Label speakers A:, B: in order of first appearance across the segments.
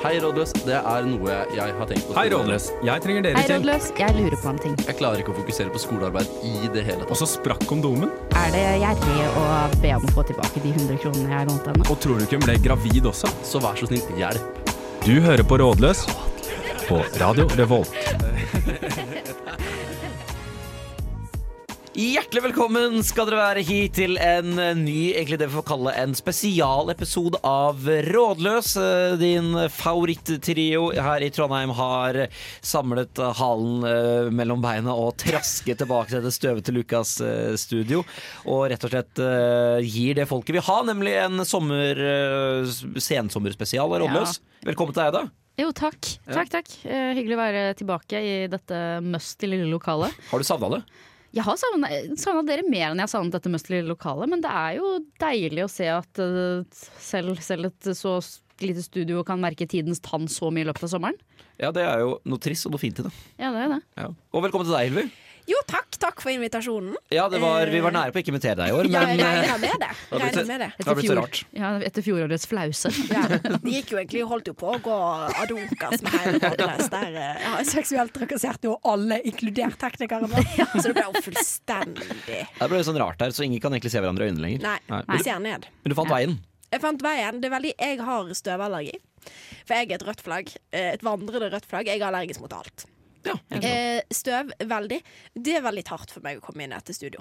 A: Hei, rådløs. Det er noe jeg har tenkt på.
B: Hei, Rådløs. Jeg trenger dere
C: Hei,
B: til.
C: rådløs. Jeg lurer på en ting.
A: Jeg klarer ikke å fokusere på skolearbeid i det hele
B: Og
A: tatt.
B: så sprakk kondomen.
C: Er det gjerrig å be om å få tilbake de 100 kronene jeg lånte henne?
B: Og tror du ikke hun ble gravid også?
A: Så vær så snill, hjelp.
B: Du hører på Rådløs på Radio Revolt.
D: Hjertelig velkommen skal dere være hit til en eh, ny, egentlig det vi får kalle en spesialepisode av Rådløs. Eh, Din favorittrio her i Trondheim har samlet eh, halen eh, mellom beina og trasket tilbake til det støvete Lukas eh, studio. Og rett og slett eh, gir det folket vil ha, nemlig en sommer, eh, s- sensommerspesial av Rådløs. Velkommen til deg, da.
E: Jo, takk. Takk, takk. Eh, hyggelig å være tilbake i dette must lille lokalet.
D: Har du savna det?
E: Jeg har savna dere mer enn jeg har savnet dette must lille lokalet, men det er jo deilig å se at eh, selv, selv et så s- lite studio kan merke tidens tann så mye i løpet av sommeren.
D: Ja, det er jo noe trist og noe fint i det.
E: Ja, det er det.
D: Ja. Og velkommen til deg, Hilvi.
F: Jo, takk. Takk for invitasjonen.
D: Ja, det var, vi
F: Eh,
D: var nære på å ikke invitere deg i år,
F: Jeg
D: men eh,
F: regna med det.
D: har blitt-
F: Regnet med det.
D: Det har blitt så rart.
E: ja, etter fjorårets flause.
F: Ja. De gikk jo egentlig holdt jo på å gå ad undas med hele Rådløs. Der eh, ja, seksuelt trakasserte jo alle, inkludert teknikeren vår. Så det ble jo fullstendig
D: Det ble litt sånn rart der, så ingen kan egentlig se hverandre i øynene lenger.
F: Nei,
D: Men,
F: vi ser ned.
D: du, men du fant veien.
F: Jeg fant veien. Det er veldig Jeg har støvallergi. For jeg er et rødt flagg. Eh, Et vandrende rødt flagg. Jeg er allergisk mot alt.
D: Ja, ikke sant.
F: Eh, støv veldig. Det er veldig hardt for meg å komme inn etter studio.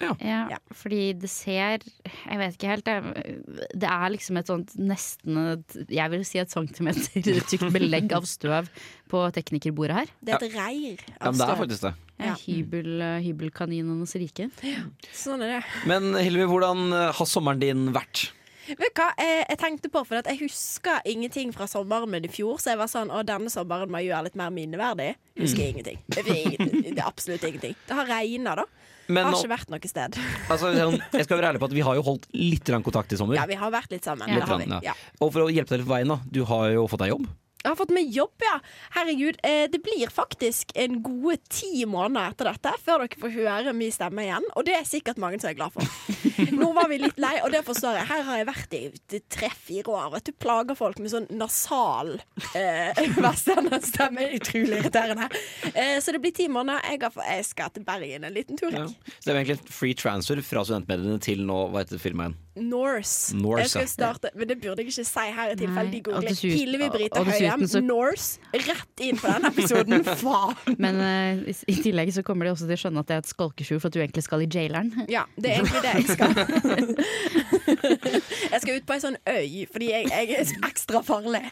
E: Ja,
F: Ja.
E: fordi det ser Jeg vet ikke helt. Det, det er liksom et sånt nesten et- Jeg vil si et centimeter tykt belegg av støv på teknikerbordet her.
F: Det er et reir
D: ja,
F: av
D: men det er
F: støv.
D: faktisk det.
E: Ja.
F: Ja.
E: Hybel, hybelkaninenes rike.
F: Sånn er det.
D: Men Hilvi, hvordan eh, har sommeren din vært?
F: Vet du hva, jeg, jeg tenkte på, for at jeg husker ingenting fra sommeren min i fjor, så jeg var sånn, å denne sommeren må jeg gjøre litt mer minneverdig. Husker
D: Mm.
F: jeg ingenting. Jeg fikk ingenting. Det er absolutt ingenting. Det har regnet da.
D: Men,
F: har
D: nå-
F: ikke vært noe sted.
D: altså, sånn, jeg skal være ærlig på at Vi har jo holdt litt grann kontakt i sommer.
F: Ja, vi har vært litt sammen.
E: Ja.
F: det har
D: Litt grann,
F: vi.
D: ja.
F: Ja.
D: Og for å hjelpe deg litt på veien, da. Du har jo fått deg jobb.
F: Jeg har fått meg jobb, ja. Herregud, eh, det blir faktisk en gode ti måneder etter dette før dere får høre min stemme igjen, og det er sikkert mange som er glad for. Nå var vi litt lei, og det forstår jeg. Her har jeg vært i tre-fire år. Vet du, plager folk med sånn nasal eh, vestlandsstemme. Utrolig irriterende. Eh, så det blir ti måneder. Jeg, har, jeg skal til Bergen en liten tur, jeg.
D: Så det er jo egentlig en free transfer fra studentmediene til nå, hva heter filmen?
F: Norse.
D: Norse,
F: Jeg
D: ja.
F: skal starte, men det burde jeg ikke si her i tilfelle
E: Nei,
F: de
E: og
F: googler.
E: dessuten-
F: Hillevi Brita
E: og dessuten
F: Høyem,
E: så-
F: Norse, rett inn på den episoden. Faen!
E: Men eh, i, i tillegg så kommer de også til å skjønne at det er et skalkeskjul for at du egentlig skal i jaileren.
F: Ja, det er egentlig det jeg skal. jeg skal ut på ei sånn øy, fordi jeg, jeg er ekstra farlig.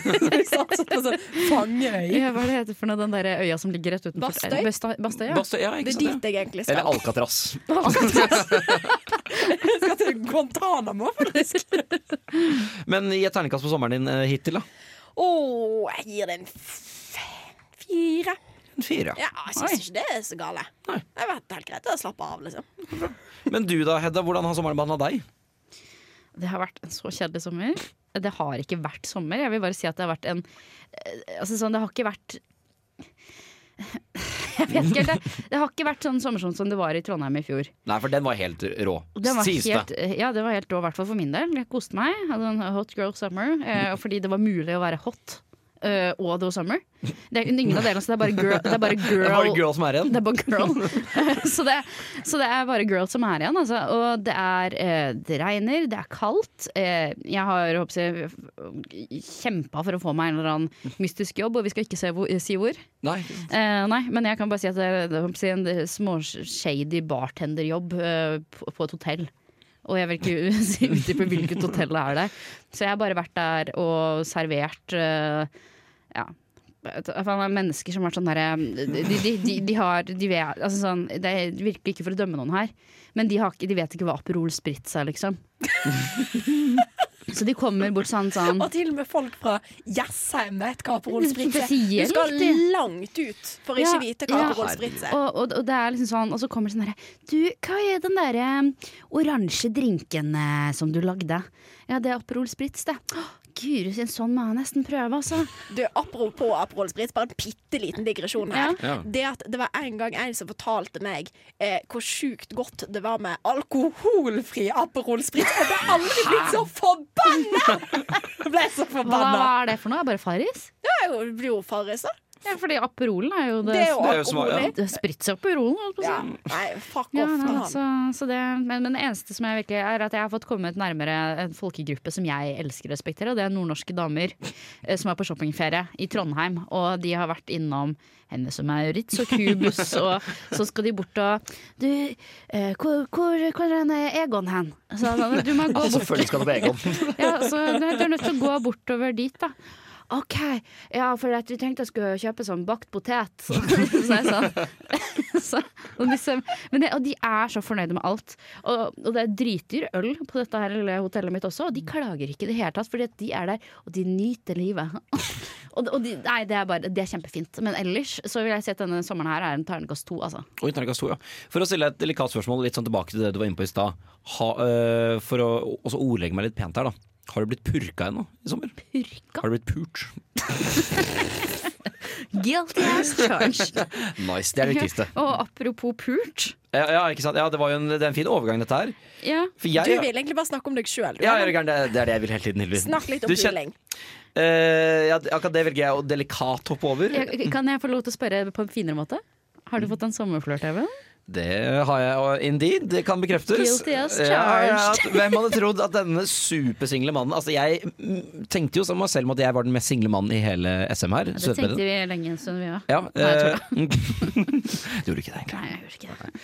F: Satset på sånn fangeøy.
E: Ja, hva er det heter for noe, den der øya som ligger rett utenfor
F: Bastøy?
E: Eh, Basta- Bastøy, ja.
D: Bastø- ja,
F: Det
D: ikke
F: er
D: sant, ja.
F: dit jeg egentlig
D: Eller
F: skal.
D: Alcatraz.
F: Jeg skal til Guantánamo, faktisk.
D: Men gi et terningkast på sommeren din eh, hittil, da.
F: Å, jeg gir det en f- fire.
D: En fire. ja.
F: Ja, jeg syns ikke det er så gale.
D: Nei.
F: Det har vært helt greit å slappe av, liksom.
D: Men du da, Hedda. Hvordan har sommeren behandla deg?
E: Det har vært en så kjedelig sommer. Det har ikke vært sommer. Jeg vil bare si at det har vært en eh, Altså sånn, det har ikke vært Jeg vet ikke helt. Det, det har ikke vært sånn sommersom som det var i Trondheim i fjor.
D: Nei, for den var helt rå.
E: Det var
D: Sies det.
E: helt, eh, ja, det var helt rå, i hvert fall for min del. Jeg koste meg. Hadde en hot girl summer. Eh, og fordi det var mulig å være hot. eh, og det var summer. Det er ingen av delene, så det er bare girl. Det er bare girl.
D: Det var en girl som er igjen.
E: Det er bare girl. så, det, så det er bare girl som er igjen. Altså. Og det er eh, Det regner, det er kaldt. Eh, jeg har kjempa for å få meg en eller annen mystisk jobb, og vi skal ikke se hvor, si hvor.
D: Nei,
E: Eh, nei, men jeg kan bare si at eh, det er jeg håper å si, en småshady bartenderjobb eh, på, på et hotell. Og jeg vil ikke si utdype hvilket hotell det er der. Så jeg har bare vært der og servert eh, ja. Faen, det er Mennesker som har vært sånn derre de, de, de, de har de vet, altså sånn, Det er virkelig ikke for å dømme noen her, men de, har, ikke- de vet ikke hva Aperol Spritz er, liksom. Så de kommer bort sånn sånn
F: Og til og med folk fra Jessheim vet hva Aperol Spritz er. Du
E: Spesielt
F: skal
E: riktig.
F: langt ut for ikke
E: Ja,
F: vite hva
E: ja.
F: Aperol Spritz er.
E: Og, og, og det er liksom sånn, og så kommer det sånn derre Du, hva er den derre oransje drinken eh, som du lagde? Ja, det er Aperol Spritz, det. «Åh, Guri, en sånn må jeg nesten prøve, altså.
F: Du, apropos Aperol Spritz, bare en bitte liten digresjon her.
A: Ja. Ja.
F: Det at det var en gang en som fortalte meg eh, hvor sjukt godt det var med alkoholfri Aperol Spritz. Jeg ble aldri blitt så forbanna! Jeg ble så
E: Hva, hva
F: forbanna.
E: er det for noe? Er det bare Farris?
F: Jeg blir jo farris, da.
E: Ja, fordi Aperolen er jo det,
F: Det er jo
D: Det er jo smak-
F: alkohol i.
E: det spritser Aperolen, holdt på å si.
F: Ja. Nei, fuck
E: Ja,
F: off.
E: nei,
F: faen.
D: altså.
E: så, så det, men, men det eneste som jeg virkelig er at jeg har fått kommet nærmere en folkegruppe som jeg elsker og respekterer, og det er nordnorske damer eh, som er på shoppingferie i Trondheim. Og de har vært innom henne som er Ritz og Cubus, og så skal de bort og Du, eh, hvor, hvor, hvor er den Egon hen? Så, han sa, du må gå bort.
D: Selvfølgelig skal det på Egon.
E: Ja, så du er nødt til å gå bortover dit, da. OK, ja, for at vi tenkte jeg skulle kjøpe sånn bakt potet. Så, så jeg sånn. Så, og, disse, men det, og de er så fornøyde med alt. Og, og det er dritdyr øl på dette her lille hotellet mitt også, og de klager ikke i det hele tatt, fordi at de er der, og de nyter livet. Og, og de, nei, det er, bare, det er kjempefint. Men ellers så vil jeg si at denne sommeren her er en terningkast to, altså.
D: Oi, terningkast to, ja. For å stille et delikat spørsmål litt sånn tilbake til det du var inne på i stad. Ha- eh, For å også ordlegge meg litt pent her, da. Har du blitt purka ennå i sommer?
E: Purka.
D: Har du blitt pult?
E: Guilty as charged.
D: Nice, det er det viktigste.
E: Og apropos pult.
D: Ja, ja, ikke sant? ja det var jo en, det er en fin overgang, dette her.
E: Ja.
D: For jeg,
F: Du vil egentlig bare snakke om deg sjøl.
D: ja, jeg, det, det er det jeg vil hele tiden. Hilde.
F: Snakk litt om
D: Du kjen-
F: puling.
D: Eh, ja, akkurat det velger jeg å delikat hoppe over.
E: Jeg- Kan jeg få lov til å spørre på en finere måte? Har du fått en sommerflørt, Even?
D: Det har jeg og indeed. Det kan bekreftes.
E: Guilty as charged.
D: at- hvem hadde trodd at denne supersingle mannen Altså Jeg mm, tenkte jo som meg selv om at jeg var den mest single mannen i hele SM her.
E: Det
D: Søtbedre.
E: tenkte vi lenge en stund, vi òg.
D: Ja,
E: Nei, jeg
D: eh, Gjorde ikke det, egentlig.
E: Nei, jeg gjør ikke det.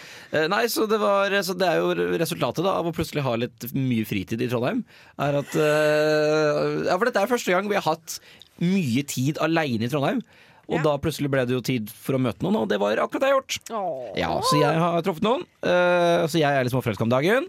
D: Eh, Nei, så det, var, så det er jo resultatet da, av å plutselig ha litt mye fritid i Trondheim. Er at, eh, ja, for dette er første gang vi har hatt mye tid aleine i Trondheim. Og
F: Ja.
D: da plutselig ble det jo tid for å møte noen, og det var akkurat det jeg har gjort. Ja, Så jeg har truffet noen. eh, så jeg er litt småforelska om dagen.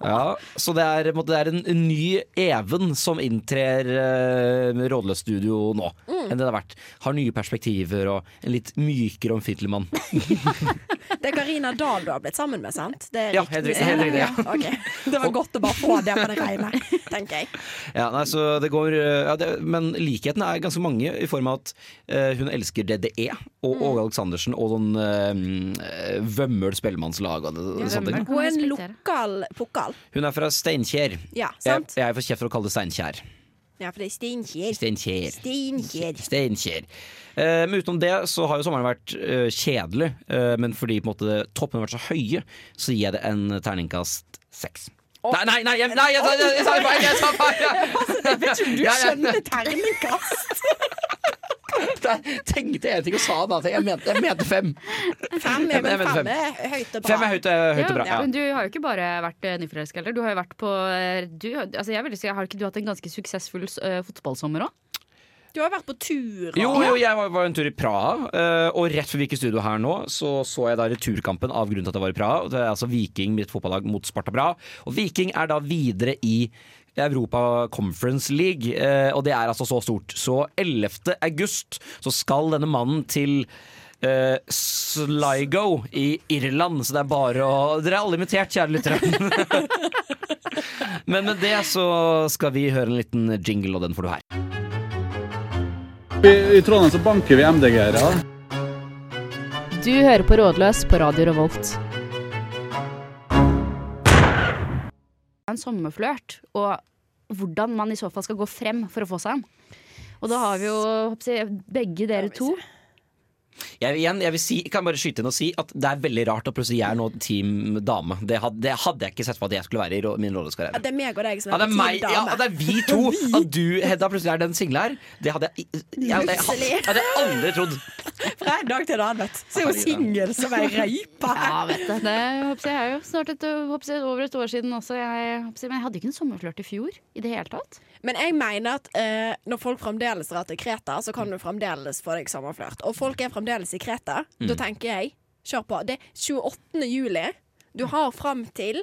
D: Ja, så det er, på en måte, det er en, en ny Even som inntrer uh, Rådløs studio nå enn det det har vært. Har nye perspektiver og en litt mykere omfintlig mann.
F: Det er Karina Dahl du har blitt sammen med, sant? Det er
D: Ja, helt riktig, helt riktig, ja.
F: Ok. Det var godt å bare få det på det reine, tenker jeg.
D: Ja, nei, så det går, eh, ja, det, men likhetene er ganske mange, i form av at eh, hun elsker DDE og
F: Mm.
D: Åge Aleksandersen og sånn eh, Vømmøl spellemannslag og det, og sånne ting.
E: Vømmøl.
F: Og en lokal pokal.
D: Hun er fra Steinkjer.
F: Ja,
D: Jeg,
F: sant?
D: jeg får kjeft for å kalle det Steinkjer.
F: Ja, for det er Steinkjer.
D: Steinkjer.
F: Steinkjer.
D: Steinkjer. Eh, men utenom det så har jo sommeren vært eh, kjedelig, eh, men fordi på en måte toppene har vært så høye, så gir jeg det en terningkast seks. Nei, nei, nei, jeg, nei, jeg, sa- jeg, jeg sa feil! Jeg sa feil!
F: Jeg vet ikke om du
D: Ja, ja.
F: skjønner terningkast.
D: Der tenkte jeg en ting og sa en annen ting. Jeg mente, jeg mente fem. Ja,
F: Fem er,
D: men jeg
F: men
D: mener
F: fem er høyt og bra.
D: Fem er høyt, eh, høyt og bra.
E: Ja,
D: Ja.
E: men du har jo ikke bare vært eh, nyforelska heller. Du har jo vært på eh, du, altså jeg vil si, Har ikke du hatt en ganske suksessfull eh, fotballsommer òg?
F: Du har vært på tur.
D: Jo, jo, jeg var, var en tur i Praha, eh, og rett før vi gikk i studio her nå, så så jeg da returkampen av grunnen til at jeg var i Praha. Det er altså Viking, mitt fotballag, mot Sparta Praha. Og Viking er da videre i Europa Conference League, eh, og det er altså så stort. Så 11. august så skal denne mannen til eh, Sligo i Irland, så det er bare å Dere er alle invitert, kjære lyttere. Men med det så skal vi høre en liten jingle, og den får du her.
G: I, i Trondheim så banker vi MDG-ere.
C: Du hører på Rådløs på Radio Revolt.
E: En sommerflørt, og hvordan man i så fall skal gå frem for å få seg en. Og da har vi jo håper jeg, begge dere to.
D: Jeg, igjen, jeg vil si, kan bare skyte inn og si at det er veldig rart at plutselig jeg er nå team dame. Det hadde, det hadde jeg ikke sett for at jeg skulle være i rå- min
F: Ja,
D: rollekarriere.
F: Det er meg og deg som
D: Ja,
F: er
D: det er
F: på
D: meg, ja,
F: dame.
D: det er vi to! At du, Hedda, Eh, plutselig er den single her. Det hadde jeg, jeg, jeg, jeg, hadde- jeg hadde aldri trodd.
F: Fra en dag til en annen, vet du. Så er hun singel som ei reipe.
E: Ja, vet du. Det håper jeg, er jo snart et, håper jeg, over et år siden også. Jeg, håper jeg, men jeg hadde ikke en sommerflørt i fjor i det hele tatt.
F: Men jeg mener at eh, når folk fremdeles drar til Kreta, så
D: Mm.
F: kan du fremdeles få deg sommerflørt. Og folk er fremdeles i Kreta.
D: Mm.
F: Da tenker jeg, kjør på. Det er 28. juli. Du har frem til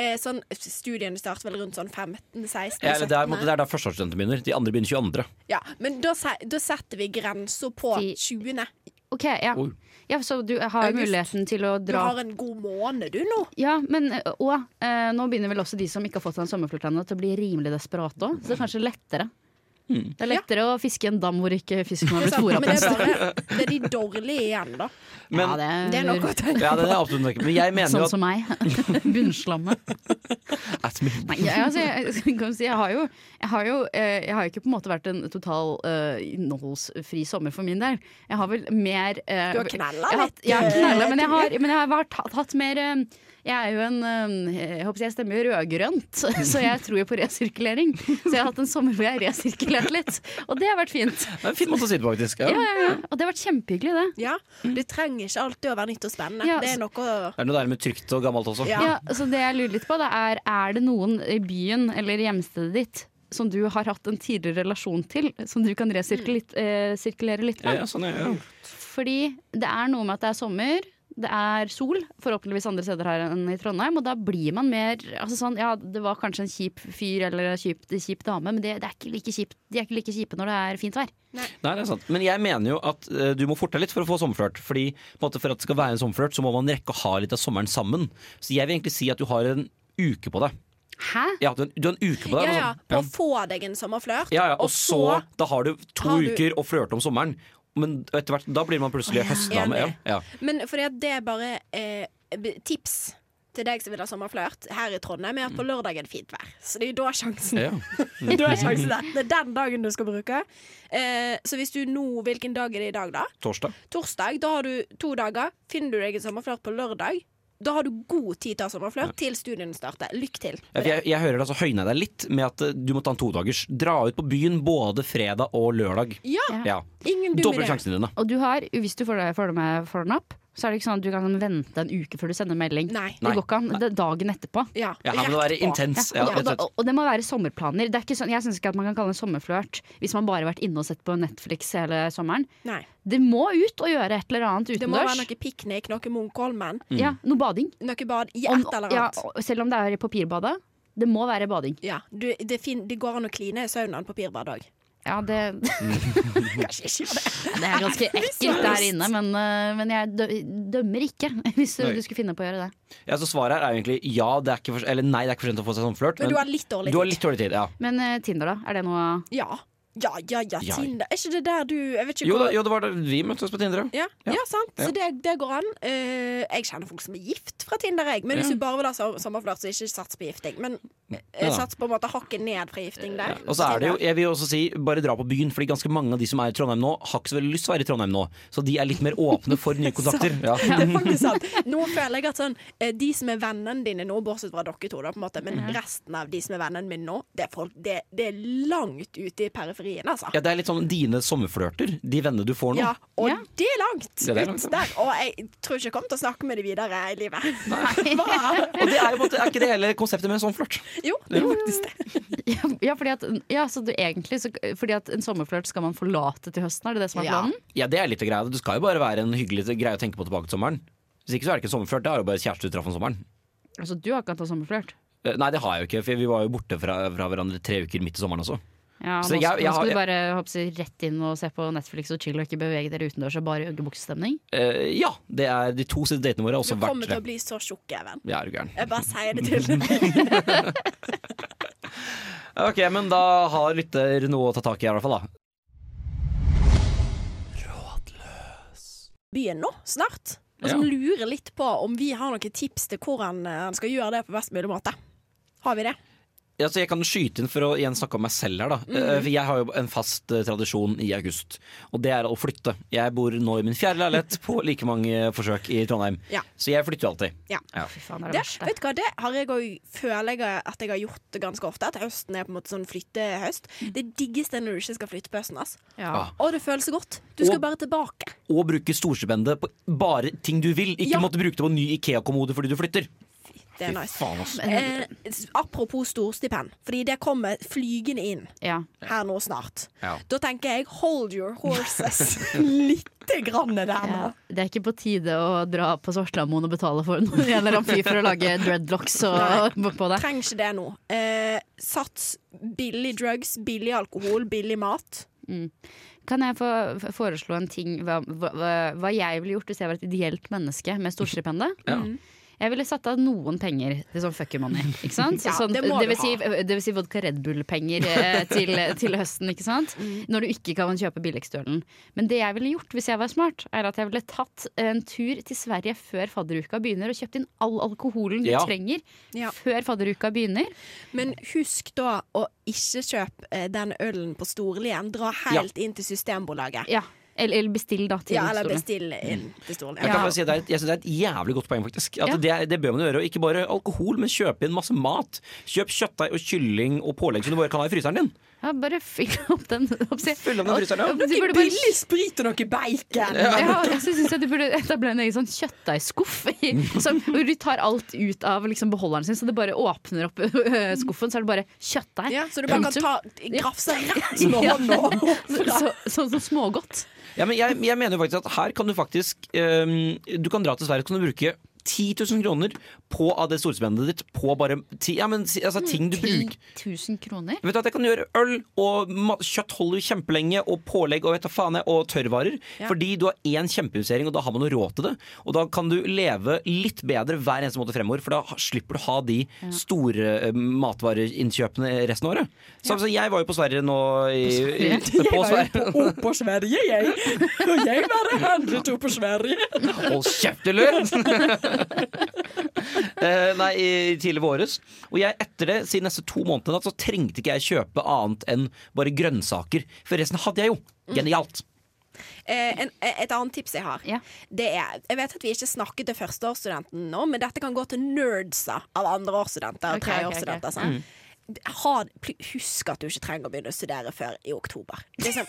F: eh, sånn, Studiene starter vel rundt sånn 15-16?
D: Ja, eller det, er, på en måte- det er da førsteårsstudentene begynner. De andre begynner 22.
F: Ja, men da, se- da setter vi grensa på
E: Ti.
F: 20.
E: Ok, ja.
D: Oi.
E: ja Så du har
F: August.
E: muligheten til å
F: Du
E: dra
F: har en god måned, du, nå.
E: Ja, men eh, ø, og eh, nå begynner vel også de som ikke har fått seg en sommerflørt ennå, til å bli rimelig desperate òg. Så det er kanskje lettere
D: Hmm.
E: Det er lettere å fiske i en dam hvor ikke fisken har
F: Det er
E: blitt fôra
F: sant, Men
E: på en
F: det er
E: stund.
F: bare det er de dårlige igjen, da.
D: Men,
E: Ja, det er,
F: Det er noe å tenke
D: ja, det er absolutt ikke. Men jeg mener jo
E: Sånn
D: at
E: som meg. Bunnslammet.
D: At min-
E: Nei, jeg, altså, jeg, jeg kan jo si, jeg har jo, jeg har jo eh, jeg har jo ikke på en måte vært en total eh, innholdsfri sommer for min del. Jeg har vel mer eh,
F: Du har knella
E: jeg har hatt-
F: litt,
E: Jeg har
F: eh,
E: knella, men jeg har, men jeg har vært, hatt, hatt mer eh, Jeg er jo en eh, Jeg håper jeg stemmer jo rødgrønt, så jeg tror jo på resirkulering. Så jeg har hatt en sommer hvor jeg har resirkulert litt, og det har vært fint.
D: Det er en fin måte å si det på, faktisk.
E: Ja, ja, ja. Og det har vært kjempehyggelig, det.
F: Ja, Det trenger ikke alltid å være nytt og spennende.
E: Ja,
F: Det
E: så-
F: er noe å
D: Det er noe der med trygt og gammelt også.
F: Ja.
E: Ja, så det jeg lurer litt på da er Er det noen i byen eller hjemstedet ditt som du har hatt en tidligere relasjon til, som du kan resirkulere litt
D: Ja,
E: med?
D: ja, sånn er det, ja.
E: Fordi det er noe med at det er sommer, det er sol, forhåpentligvis andre steder her enn i Trondheim, og da blir man mer altså sånn Ja, det var kanskje en kjip fyr eller en kjip, kjip dame, men det, det er ikke like kjipt, de er ikke like kjipe når det er fint vær.
D: Nei, det er sant. Men jeg mener jo at eh, du må forte deg litt for å få sommerflørt. Fordi på en måte, For at det skal være en sommerflørt, så må man rekke å ha litt av sommeren sammen. Så jeg vil egentlig si at du har en uke på deg.
E: Hæ?
D: Ja, du har en, du har en uke på deg.
F: Ja, ja.
D: altså.
F: På å få deg en sommerflørt,
D: Ja, ja, og så, da har du to
F: har du-
D: uker å flørte om sommeren. Men etter hvert, da blir man plutselig høstdame. Ja.
F: Enig.
D: Ja.
F: Men fordi at det er bare eh, b- tips til deg som vil ha sommerflørt her i Trondheim, er at på lørdag er det fint vær. Så det er jo da sjansen.
D: Mm. Ja.
F: da er sjansen der. Det er den dagen du skal bruke. Eh, så hvis du nå Hvilken dag er det i dag, da?
D: Torsdag.
F: Torsdag. Da har du to dager. Finner du deg en sommerflørt på lørdag, da har du god tid til å ha sommerflørt til studiene starter. Lykke til.
D: Ja, for jeg, jeg hører det altså høyne deg litt med at eh, du må ta en todagers. Dra ut på byen både fredag og lørdag.
F: Ja,
D: Ja.
F: ingen dum
D: Doble
F: idé.
D: sjansene dine.
E: Og du har, hvis du får, det- får, det med, får den opp, så er det ikke sånn at du kan vente en uke før du sender melding.
F: Nei.
E: Det går ikke an. Det er dagen etterpå.
F: Ja,
D: Ja, her må det være
F: rett på.
D: intens.
E: Ja,
D: Ja,
E: og,
D: rett og
E: da,
D: slett.
E: og det må være sommerplaner. Det er ikke sånn, jeg syns ikke at man kan kalle det en sommerflørt hvis man bare har vært inne og sett på Netflix hele sommeren.
F: Nei.
E: Det må ut og gjøre et eller annet
F: Det må være
E: utendørs.
F: noe piknik, noe Munkholmen,
E: Ja, noe bading.
F: noe bad. i
E: Om-
F: Et eller
E: ja,
F: annet.
E: og selv om det er i papirbadet. Det må være bading.
F: Ja, du, det, fin, det går an å kline i saunaen på Pirbar dag.
E: Ja, det,
F: Kanskje ikke gjør det.
E: det er ganske ekkelt der inne, men, øh, men jeg dø dømmer ikke hvis du,
D: Nei.
E: du skulle finne på å gjøre det.
D: Ja, så svaret her er egentlig ja, det er ikke for, eller nei, det er ikke for sent å få seg sommerflørt.
F: Men du har litt dårlig
D: du har litt dårlig tid. Ja.
E: Men øh, Tinder, da? Er det noe
F: Ja. Ja, ja, ja,
D: Ja.
F: Tinder. Er ikke det der du Jeg vet ikke
D: Jo, da,
F: hvor
D: jo, det var da vi møttes på Tinder. ja.
F: Ja,
D: Ja.
F: ja. sant. Så det, det går an. Eh, jeg kjenner folk som er gift fra Tinder, jeg. Men hvis du bare vil ha som- sommerflørt, så ikke sats på gifting. Men eh,
D: Ja.
F: sats på en måte hakket ned fra gifting der.
D: Og så er det jo, jeg vil jo også si, bare dra på byen, fordi ganske mange av de som er i Trondheim nå, har ikke så veldig lyst til å være i Trondheim nå. Så de er litt mer åpne for nye kontakter. Ja.
F: Det er faktisk sant. Nå føler jeg at sånn, eh, de som er vennene dine nå, bortsett fra dere to, da, på en måte, men resten av de som er vennene mine nå, det er, folk, det, det er langt ute i periferien, altså.
D: Ja, det er litt sånn dine sommerflørter, de vennene du får nå.
F: Ja, og
E: Ja.
F: det er langt
D: Ja, det er langt,
F: ut der. Og jeg tror ikke jeg kommer til å snakke med de videre i livet.
D: Og det er jo på en måte, er ikke det hele konseptet med en sånn flørt.
F: Jo, det er faktisk det.
E: Ja, ja, fordi at, ja så du, egentlig så, fordi at en sommerflørt skal man forlate til høsten, er det det som er
F: Ja.
E: planen?
D: Ja, det er litt av greia. Det skal jo bare være en hyggelig greie å tenke på tilbake til sommeren. Hvis ikke så er det ikke en sommerflørt, det er jo bare kjæreste du traff om sommeren.
E: Altså, du har ikke hatt en sommerflørt?
D: Eh, Nei, det har jeg jo ikke, for vi var jo borte fra, fra hverandre tre uker midt i sommeren også.
E: Ja,
D: Så
E: nå,
D: jeg- jeg
E: nå
D: har-
E: skal du bare hoppsi, rett inn og se på Netflix og chill og ikke bevege dere utendørs og bare joggebuksestemning?
D: Eh, ja, det er de to siste datene våre har
F: Du
D: også vært
F: kommer til å bli så tjukk, Even.
D: Ja, er du gæren.
F: Jeg bare sier det til deg.
D: Ok, men da har lytter noe å ta tak i i hvert fall da.
F: Byen nå, snart.
D: Ja.
F: Og som lurer litt på om vi har noen tips til hvordan eh, han skal gjøre det på best mulig måte. Har vi det?
D: Ja, så jeg kan skyte inn for å igjen snakke om meg selv her. da Eh, For Jeg har jo en fast eh, tradisjon i august, og det er å flytte. Jeg bor nå i min fjerde leilighet på like mange forsøk i Trondheim.
F: Ja.
D: Så jeg flytter jo alltid.
F: Ja.
E: Fy faen, det er det
F: det,
E: verste.
F: vet du hva, det har jeg òg føler jeg at jeg har gjort det ganske ofte. At høsten er på en måte sånn flyttehøst.
E: Mm.
F: Det diggeste er når du ikke skal flytte på høsten. ass.
E: Ja.
D: Ah.
F: Å, det føles så godt. Du skal
D: Og-
F: bare tilbake.
D: Og bruke storstipendet på bare ting du vil. Ikke
F: Ja.
D: måtte bruke det på en ny Ikea-kommode fordi du flytter.
F: Det er nice.
D: Faen, ass.
F: Eh, s- apropos storstipend, fordi det kommer flygende inn
E: Ja.
F: her nå snart.
D: Ja.
F: Da tenker jeg hold your horses lite grann der nå.
E: Ja. Det er ikke på tide å dra på Svartlamoen og betale for en eller annen fyr for å lage dreadlocks og, på deg.
F: Trenger ikke det nå. Eh, sats billig drugs, billig alkohol, billig mat.
E: Kan jeg få f- foreslå en ting hva, hva, hva jeg ville gjort hvis jeg var et ideelt menneske med storstipendet?
D: Ja.
E: Mm. Jeg ville satt av noen penger til sånn fucker money. Ikke sant?
F: Ja,
E: sånn,
F: det
E: det,
F: må du
E: vil si, det vil si vodka Red Bull-penger eh, til, til høsten, ikke sant?
F: Mm.
E: Når du ikke kan kjøpe billigstølen. Men det jeg ville gjort hvis jeg var smart, er at jeg ville tatt en tur til Sverige før fadderuka begynner, og kjøpt inn all alkoholen du
D: Ja.
E: trenger
F: Ja.
E: før fadderuka begynner.
F: Men husk da å ikke kjøpe eh, den ølen på Storlien. Dra helt inn til Systembolaget.
E: Ja. Eller, eller bestill, da. Til
F: Ja, eller
E: stolen.
F: bestill inn til Storlien.
D: Jeg,
E: Ja.
D: kan bare si at det er, et- jeg synes det er et jævlig godt poeng, faktisk. At
E: Ja.
D: det, det bør man gjøre. Og ikke bare alkohol, men kjøpe inn masse mat. Kjøp kjøttdeig og kylling og pålegg som du bare kan ha i fryseren din.
E: Ja, bare fyll opp den.
D: Fyll opp den fryseren, ja.
E: Du burde bare
F: Billig sprit og noe bacon!
E: Ja, og så synes jeg Du burde etablere en egen sånn kjøttdeigskuff. i- som- Hvor du tar alt ut av liksom beholderen sin, så det bare åpner opp øh, skuffen, så er det bare kjøttdeig.
F: Ja, så du bare kan
E: Punktum.
F: ta grafse rett med hånda.
E: Så- så- Sånn som smågodt.
D: Ja, men jeg, jeg mener jo faktisk at her kan du faktisk ehm, Du kan dra til Sverige og kan du bruke 10 000 kroner på av det storspennet ditt på bare ti, ja, men, si- altså, ting du bruker.
E: 1000 kroner.
D: Vet du at Jeg kan gjøre øl og ma- kjøtt holder jo kjempelenge, og pålegg og vet du faen jeg, og tørrvarer. Fordi du har én kjempeinvestering, og da har man noe råd til det. Og da kan du leve litt bedre hver eneste måte fremover, for da ha- slipper du ha de store eh, matvareinnkjøpene resten av året. Så altså, jeg var jo på Sverige nå i, i, På Sverige.
F: på Sverige, jeg. Og jeg bare handlet opp på Sverige.
D: Hold kjeft, du lur! Eh, nei, i tidlig våres. Og jeg etter det, siden neste to månedene, da, så trengte ikke jeg kjøpe annet enn bare grønnsaker. For resten hadde jeg jo. Genialt.
F: Eh, en, et annet tips jeg har,
E: Ja.
F: det er Jeg vet at vi ikke snakket til førsteårsstudenten nå, men dette kan gå til nerdsa av andreårsstudenter og
E: Ok, ok, ok.
F: tredjeårsstudenter. sant? Ha- pl- husk at du ikke trenger å begynne å studere før i oktober. Liksom,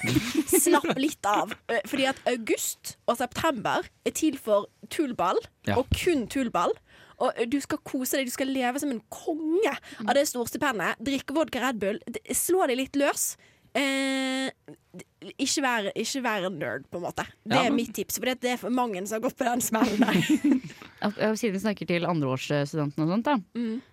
F: slapp litt av. Eh, Fordi at august og september er til for tullball,
D: Ja.
F: og kun tullball. Og eh, du skal kose deg, du skal leve som en konge av det storstipendet. Drikke vodka Red Bull, d- slå deg litt løs. Eh, d- ikke være, ikke være en nerd, på en måte. Det
D: Ja,
F: er
D: men-
F: mitt tips. For det det er for mange som har gått på den smellen der.
E: Og- og Siden vi snakker til andreårsstudentene og sånt, da,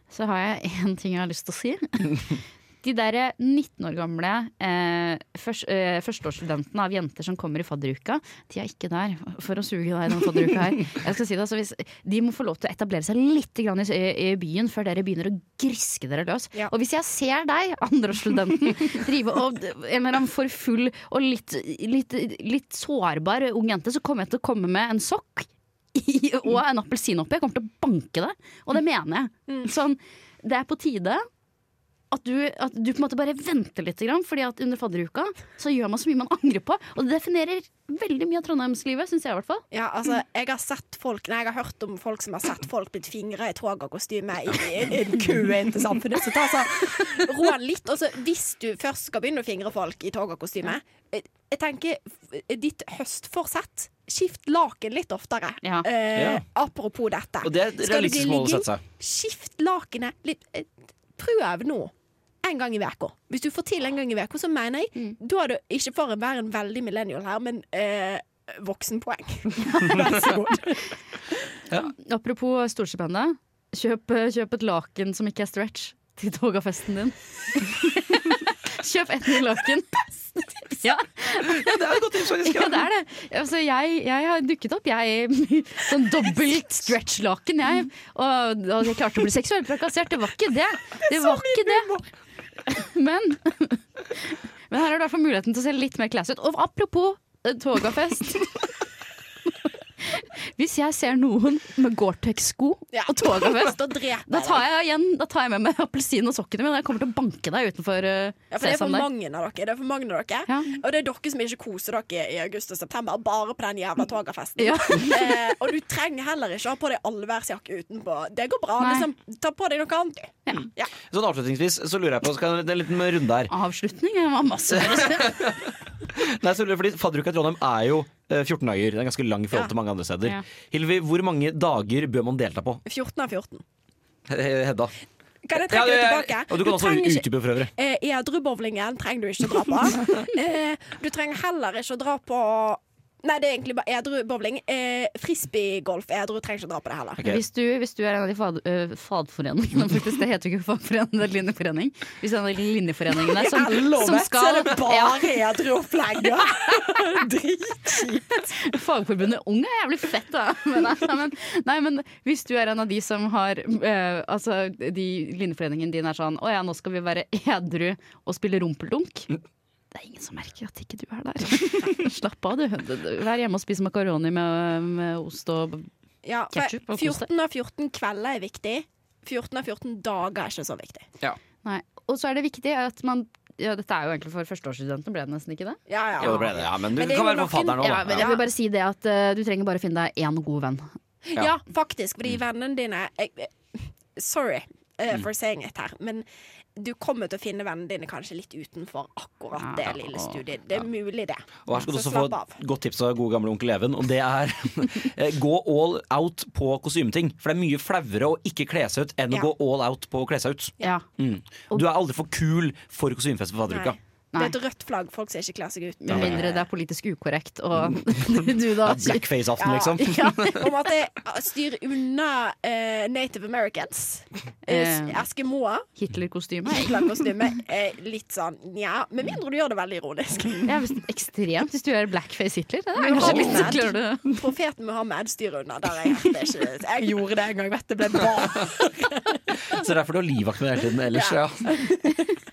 E: så har jeg én ting jeg har lyst til å si. De der 19 år gamle eh, først, eh, førsteårsstudentene av jenter som kommer i fadderuka, de er ikke der for å suge deg i den fadderuka her. Jeg skal si det, altså, hvis, de må få lov til å etablere seg litt grann i, i byen før dere begynner å griske dere løs.
F: Ja.
E: Og hvis jeg ser deg, andreårsstudenten, drive og en eller annen for full og litt, litt, litt sårbar ung jente, så kommer jeg til å komme med en sokk i- og en appelsin oppi. Jeg kommer til å banke det, og det mener jeg. Sånn, det er på tide at du, at du på en måte bare venter litt, grann, fordi at under fadderuka så gjør man så mye man angrer på. Og det definerer veldig mye av trondheimslivet, syns jeg i hvert fall.
F: Ja, altså, jeg har sett folk Nei, jeg har hørt om folk som har sett folk blitt fingra i togakostyme i i en kø inn til samfunnet. Så ta så rå den litt. Og så hvis du først skal begynne å fingre folk i togakostyme eh, Jeg tenker f- ditt høstforsett. Skift laken litt oftere.
E: Ja.
F: Eh,
D: Ja.
F: Apropos dette.
D: Og det er et
F: Skal det bli
D: realistisk mål å
F: ligging?
D: sette seg.
F: Skift lakenet litt. eh, Prøv nå. En gang i veka Hvis du får til en gang i veka så mener jeg Da er du ikke for å være en veldig millennial her, men eh, voksenpoeng. Vær så god.
E: Apropos storstipendet. Kjøp, eh, kjøp et laken som ikke er stretch, til togafesten din. kjøp et nytt laken. Ja,
D: Ja, det er et godt tips, faktisk.
E: ja, det er det. Altså, jeg, jeg har dukket opp, jeg. i Sånn dobbelt stretch-laken, jeg. Og, og jeg klarte å bli seksuelt trakassert. Det var ikke det. Det var ikke det. Men, men her har du i hvert fall muligheten til å se litt mer class ut. Og apropos eh, togafest. Hvis jeg ser noen med Gore-Tex-sko
F: Ja.
E: og togafest,
F: Da dreper jeg
E: da tar
F: deg.
E: jeg, igjen, da tar jeg med meg appelsin og sokkene mine. og Jeg kommer til å banke deg utenfor eh,
F: Ja, for det er for
E: Sesam der.
F: mange av dere. Det er for mange av dere.
E: Ja.
F: Og det er dere som ikke koser dere i august og september, bare på den jævla togafesten.
E: Ja.
F: eh, og du trenger heller ikke ha på deg allværsjakke utenpå. Det går bra.
E: Nei.
F: Liksom, ta på deg noe annet. du.
D: Sånn avslutningsvis så lurer jeg på skal jeg- Det er en liten runde her.
E: Avslutning det var masse mer å si.
D: Nei, så lurer jeg, fordi Fadderuka i Trondheim er jo eh, 14 dager. Det er ganske lang i forhold til mange andre steder.
E: Ja.
D: Hilvi, hvor mange dager bør man delta på?
F: 14 av 14.
D: He- Hedda.
F: Kan jeg trekke
D: Ja,
F: det
D: det-
F: tilbake?
D: Og du kan også
F: trenger ikke-
D: utdype for øvrig.
F: Eh, Edrubowlingen trenger du ikke å dra på. Eh, du trenger heller ikke å dra på Nei, det er egentlig bare edru-bowling. Eh, Frisbeegolf. Edru trenger ikke dra på det heller.
D: Ok.
E: Hvis, du, hvis du er en av de fad, øh, fagforeningene, faktisk, det heter jo ikke fagforening, det er linjeforening. Hvis du er en av de linjeforeningene som, som
F: Lovet, så
E: skal
F: er det
E: ja,
F: bare edru-opplegg. Ja. Dritkjipt.
E: Fagforbundet Ung er jævlig fett, da. Men, nei, men, nei, men hvis du er en av de som har øh, Altså, de linjeforeningen din er sånn Å ja, nå skal vi være edru og spille rumpeldunk. Det er ingen som merker at ikke du er der. Slapp av, du. Vær hjemme og spis makaroni med, med ost og
F: Ja,
E: Ketchup
F: for
E: og kos deg.
F: 14 av 14 kvelder er viktig. 14 av 14 dager er ikke så viktig.
E: Nei. Og så er det viktig at man ja, Dette er jo egentlig for førsteårsstudenter, ble det nesten ikke det?
F: Ja, ja.
D: Jo, det ble det. Ja, men du
F: Men det er
D: kan
F: jo
D: være
F: noen-
D: forfatteren
E: Ja,
D: òg,
E: men
D: da.
E: jeg vil bare si det at eh, du trenger bare finne deg én god venn.
F: Ja, faktisk. Fordi vennene dine jeg, jeg- Sorry eh,
D: Mm.
F: for saying it her, men du kommer til å finne vennene dine kanskje litt utenfor akkurat det
E: Ja,
F: lille
E: og-
F: studiet. Det er mulig, det.
D: Og her skal du
F: Så
D: også få
F: slapp av.
D: et godt tips av gode gamle onkel Even, og det er eh, gå all out på kostymeting. For det er mye flauere å ikke kle seg ut enn å
F: Ja.
D: gå all out på å kle seg ut.
E: Ja.
D: Mm. Du er aldri for kul for kostymefest på fadderuka.
F: Nei. Det er et rødt flagg, folk som ikke kler seg ut.
E: Med mindre det er politisk ukorrekt og du da
D: Ja, Blackface-aften,
F: Ja.
D: liksom.
E: Ja.
F: Om at jeg styrer unna eh, Native Americans.
E: Eh.
F: Uh, Eskimoer.
E: Hitler-kostyme.
F: Kostyme. eh, litt sånn nja. Med mindre du gjør det veldig ironisk.
E: Ja, hvis, ekstremt hvis du gjør blackface Hitler. Det er
F: Men
E: kanskje
F: han
E: litt
F: er-
E: klarer du
F: Profeten Muhammed styrer unna. Der er jeg, det er ikke, jeg gjorde det en gang, vet du. Ble bra.
D: Så det er derfor du har livvakt med hele tiden ellers. Ja.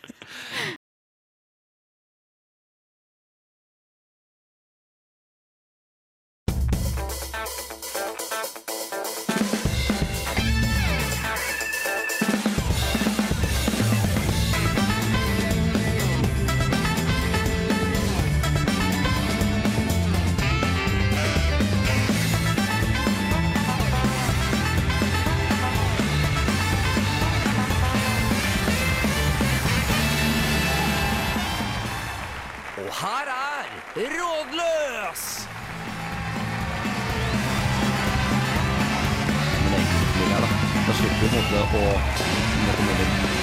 D: Og her er Rådløs! Da slipper du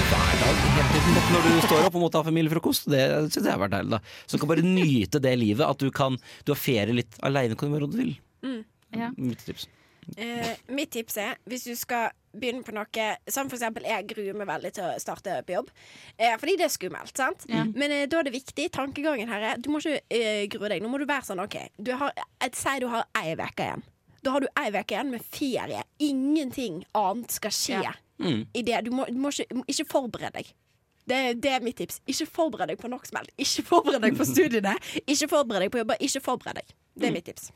D: på en måte å måtte gå inn hver dag helt til, på en måte, når du står opp og måtte ha familiefrokost. Det syns jeg har vært deilig. da Så du kan bare nyte det livet. At du kan Du har ferie litt aleine, kan du gjøre hva du vil.
F: Mm.
E: Ja.
D: Mitt tips.
F: Eh, mitt tips er, hvis du skal begynne på noe Som for eksempel, jeg gruer meg veldig til å starte på jobb. Eh, fordi det er skummelt, sant? Men eh, da er det viktig. Tankegangen her er Du må ikke eh, grue deg. Nå må du være sånn, OK du har, jeg, Si du har ei uke igjen. Da har du ei uke igjen med ferie. Ingenting annet skal skje i det. Du må, du må ikke, ikke forberede deg. Det, det er mitt tips. Ikke forbered deg på nok smelt. Ikke forbered deg på studiene. Ikke forbered deg på jobber. Ikke forbered deg. Det er mitt tips.